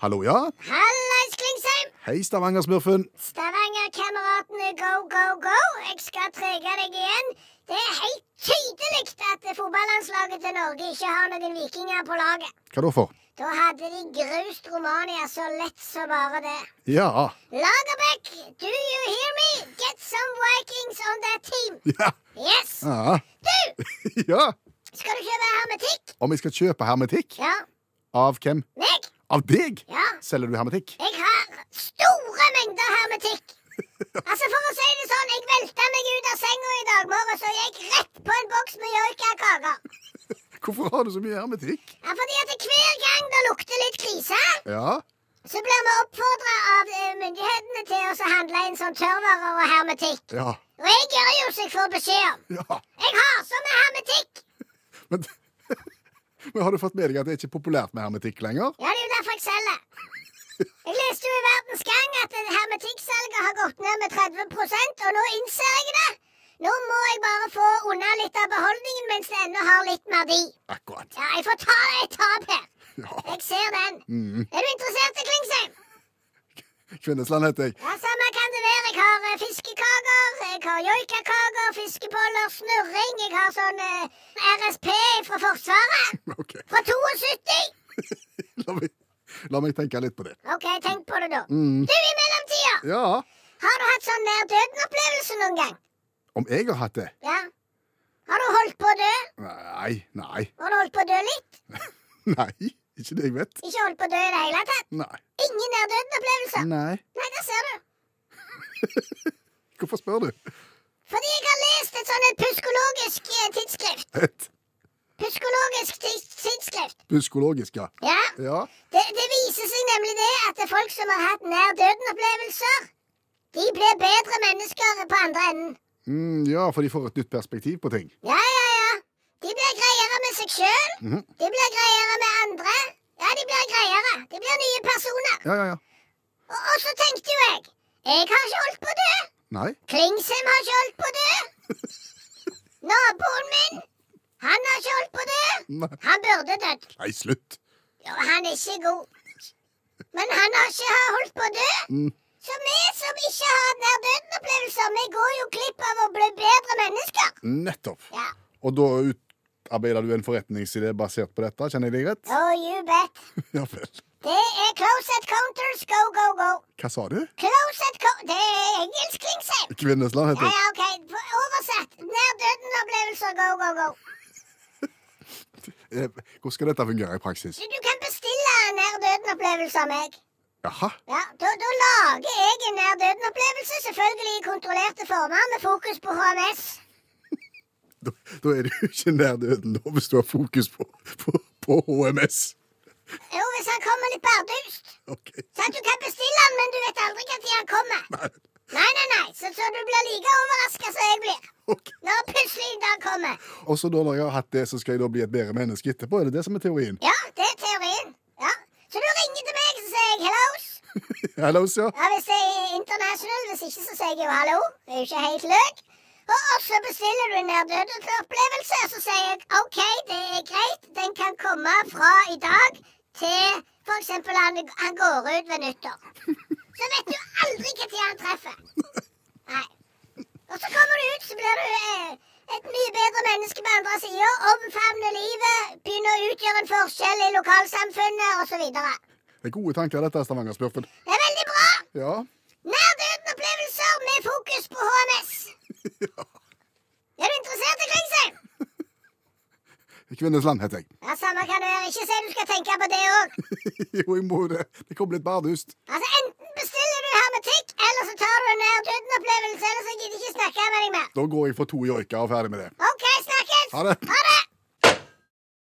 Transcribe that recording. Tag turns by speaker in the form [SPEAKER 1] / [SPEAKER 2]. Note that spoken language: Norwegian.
[SPEAKER 1] Hallo, ja.
[SPEAKER 2] Hallais, Klingsheim!
[SPEAKER 1] Hei, Stavanger-smurfen.
[SPEAKER 2] Stavanger-kameratene, go, go, go! Jeg skal trege deg igjen. Det er helt tydelig at fotballandslaget til Norge ikke har noen vikinger på laget.
[SPEAKER 1] Hva da for?
[SPEAKER 2] Da hadde de grust Romania så lett som bare det.
[SPEAKER 1] Ja.
[SPEAKER 2] Lagerbäck, do you hear me? Get some Vikings on that team!
[SPEAKER 1] Ja.
[SPEAKER 2] Yes!
[SPEAKER 1] ja.
[SPEAKER 2] Du!
[SPEAKER 1] ja.
[SPEAKER 2] Skal du kjøpe hermetikk?
[SPEAKER 1] Om jeg skal kjøpe hermetikk?
[SPEAKER 2] Ja.
[SPEAKER 1] Av hvem?
[SPEAKER 2] Meg?
[SPEAKER 1] Av deg?
[SPEAKER 2] Ja.
[SPEAKER 1] Selger du hermetikk?
[SPEAKER 2] Jeg har store mengder hermetikk. Altså For å si det sånn, jeg velta meg ut av senga i dag morges og gikk rett på en boks med joikakaker.
[SPEAKER 1] Hvorfor har du så mye hermetikk?
[SPEAKER 2] Ja, fordi at hver gang det lukter litt krise,
[SPEAKER 1] Ja.
[SPEAKER 2] så blir vi oppfordra av eh, myndighetene til oss å handle inn sånn tørrvarer og hermetikk.
[SPEAKER 1] Ja.
[SPEAKER 2] Og jeg gjør jo som jeg får beskjed om.
[SPEAKER 1] Ja.
[SPEAKER 2] Jeg har så mye hermetikk.
[SPEAKER 1] Men, men har du fått med deg at det er ikke populært med hermetikk lenger?
[SPEAKER 2] Ja, det er jo derfor jeg selger. Jeg leste jo i Verdens Gang at eh, hermetikksalget har gått ned med 30 og nå innser jeg det. Nå må jeg bare få unna litt av beholdningen mens det ennå har litt verdi.
[SPEAKER 1] Akkurat.
[SPEAKER 2] Ja, jeg får ta et tap her.
[SPEAKER 1] Ja.
[SPEAKER 2] Jeg ser den.
[SPEAKER 1] Mm.
[SPEAKER 2] Er du interessert i Klingsheim?
[SPEAKER 1] Kvinnesland heter jeg.
[SPEAKER 2] Ja, Samme kan det være. Jeg har eh, fiskekaker, jeg har joikakaker, fiskeboller, snurring. Jeg har sånn eh, RSP fra Forsvaret.
[SPEAKER 1] OK.
[SPEAKER 2] Fra 72.
[SPEAKER 1] La meg, la meg tenke litt på det.
[SPEAKER 2] OK, tenk på det, da.
[SPEAKER 1] Mm.
[SPEAKER 2] Du, i mellomtida.
[SPEAKER 1] Ja.
[SPEAKER 2] Har du hatt sånn nær døden-opplevelse noen gang?
[SPEAKER 1] Om jeg har hatt det?
[SPEAKER 2] Ja. Har du holdt på å dø?
[SPEAKER 1] Nei. Nei.
[SPEAKER 2] Har du holdt på å dø litt?
[SPEAKER 1] Nei. Ikke det jeg vet.
[SPEAKER 2] Ikke holdt på å dø i det hele tatt?
[SPEAKER 1] Nei.
[SPEAKER 2] Ingen nær døden-opplevelser?
[SPEAKER 1] Nei.
[SPEAKER 2] Nei, der ser du.
[SPEAKER 1] Hvorfor spør du?
[SPEAKER 2] Fordi jeg har lest et sånn et pyskologisk eh, tidsskrift.
[SPEAKER 1] Et
[SPEAKER 2] Pyskologisk tids- tidsskrift.
[SPEAKER 1] buskologisk, ja.
[SPEAKER 2] Ja.
[SPEAKER 1] Ja.
[SPEAKER 2] Det, det viser seg nemlig det at folk som har hatt nær døden-opplevelser, de blir bedre mennesker på andre enden.
[SPEAKER 1] Mm, ja, for de får et nytt perspektiv på ting.
[SPEAKER 2] Ja, ja, ja. De blir greiere med seg sjøl.
[SPEAKER 1] Mhm.
[SPEAKER 2] De blir greiere med andre. Ja, de blir greiere. De blir nye personer.
[SPEAKER 1] Ja, ja, ja.
[SPEAKER 2] Og, og så tenkte jo jeg Jeg har ikke holdt på å dø.
[SPEAKER 1] Nei.
[SPEAKER 2] Klingsheim har ikke holdt på å dø. Naboen min, han har ikke holdt på å dø.
[SPEAKER 1] Nei,
[SPEAKER 2] Han burde dødd.
[SPEAKER 1] Nei slutt.
[SPEAKER 2] Jo, han er ikke god. Men han har ikke ha- holdt på å dø.
[SPEAKER 1] Mm.
[SPEAKER 2] Så vi som ikke har hatt nær døden-opplevelser, vi går jo glipp av å bli bedre mennesker.
[SPEAKER 1] Nettopp.
[SPEAKER 2] Ja.
[SPEAKER 1] Og da utarbeider du en forretningsidé basert på dette, kjenner jeg deg rett?
[SPEAKER 2] Oh, you bet.
[SPEAKER 1] Ja vel.
[SPEAKER 2] Det er Closet Counters go, go, go.
[SPEAKER 1] Hva sa du?
[SPEAKER 2] Closet co... Det er engelsk, Klingsheim.
[SPEAKER 1] Kvinnesland
[SPEAKER 2] Ja,
[SPEAKER 1] heter jeg.
[SPEAKER 2] ja, OK. På- Oversett. Nær døden-opplevelser go, go, go.
[SPEAKER 1] Eh, Hvordan skal dette fungere i praksis?
[SPEAKER 2] Så du kan bestille en nær døden-opplevelse av meg.
[SPEAKER 1] Jaha.
[SPEAKER 2] Ja, da, da lager jeg en nær døden-opplevelse, selvfølgelig i kontrollerte former, med fokus på HMS.
[SPEAKER 1] Da, da er du ikke nær døden da, hvis du har fokus på, på, på HMS.
[SPEAKER 2] Jo, hvis han kommer litt bardust.
[SPEAKER 1] OK.
[SPEAKER 2] Sånn at du kan bestille han, men du vet aldri når han kommer.
[SPEAKER 1] Nei.
[SPEAKER 2] Nei, nei, nei, så, så du blir like overraska som jeg blir.
[SPEAKER 1] OK.
[SPEAKER 2] Når plutselig en dag kommer.
[SPEAKER 1] Og så da når jeg har hatt det, så skal jeg da bli et bedre menneske etterpå? Er det det som er teorien?
[SPEAKER 2] Ja, det er teorien. Ja. Så du ringer til meg, så sier jeg hellos.
[SPEAKER 1] Hallo, ja.
[SPEAKER 2] Ja, hvis det er international, hvis ikke så sier jeg jo hallo. Det er jo ikke helt løk. Og og så bestiller du en nær-døden-opplevelse, og så sier jeg OK, det er greit, den kan komme fra i dag til f.eks. Han, han går ut ved nyttår. Så vet du aldri når han treffer. Nei. Og så kommer du ut, så blir du eh, et mye bedre menneske på andre sida. Omfavner livet, begynner å utgjøre en forskjell i lokalsamfunnet osv. Det
[SPEAKER 1] Det er gode tanker, dette, Stavanger-smurfen.
[SPEAKER 2] er veldig bra.
[SPEAKER 1] Ja.
[SPEAKER 2] Nær-døden-opplevelser med fokus på HMS.
[SPEAKER 1] ja.
[SPEAKER 2] Er du interessert i Klingsheim?
[SPEAKER 1] Kvinnes land heter jeg.
[SPEAKER 2] Ja, Samme kan det være. Ikke si du skal tenke på det òg.
[SPEAKER 1] jo, jeg må det. Det kom litt bardust.
[SPEAKER 2] Altså, enten bestiller du hermetikk, eller så tar du en nær-døden-opplevelse. Ellers så gidder jeg ikke snakke med deg mer.
[SPEAKER 1] Da går jeg for to joiker og ferdig med det.
[SPEAKER 2] OK, snakkes!
[SPEAKER 1] Ha det.
[SPEAKER 2] Ha det!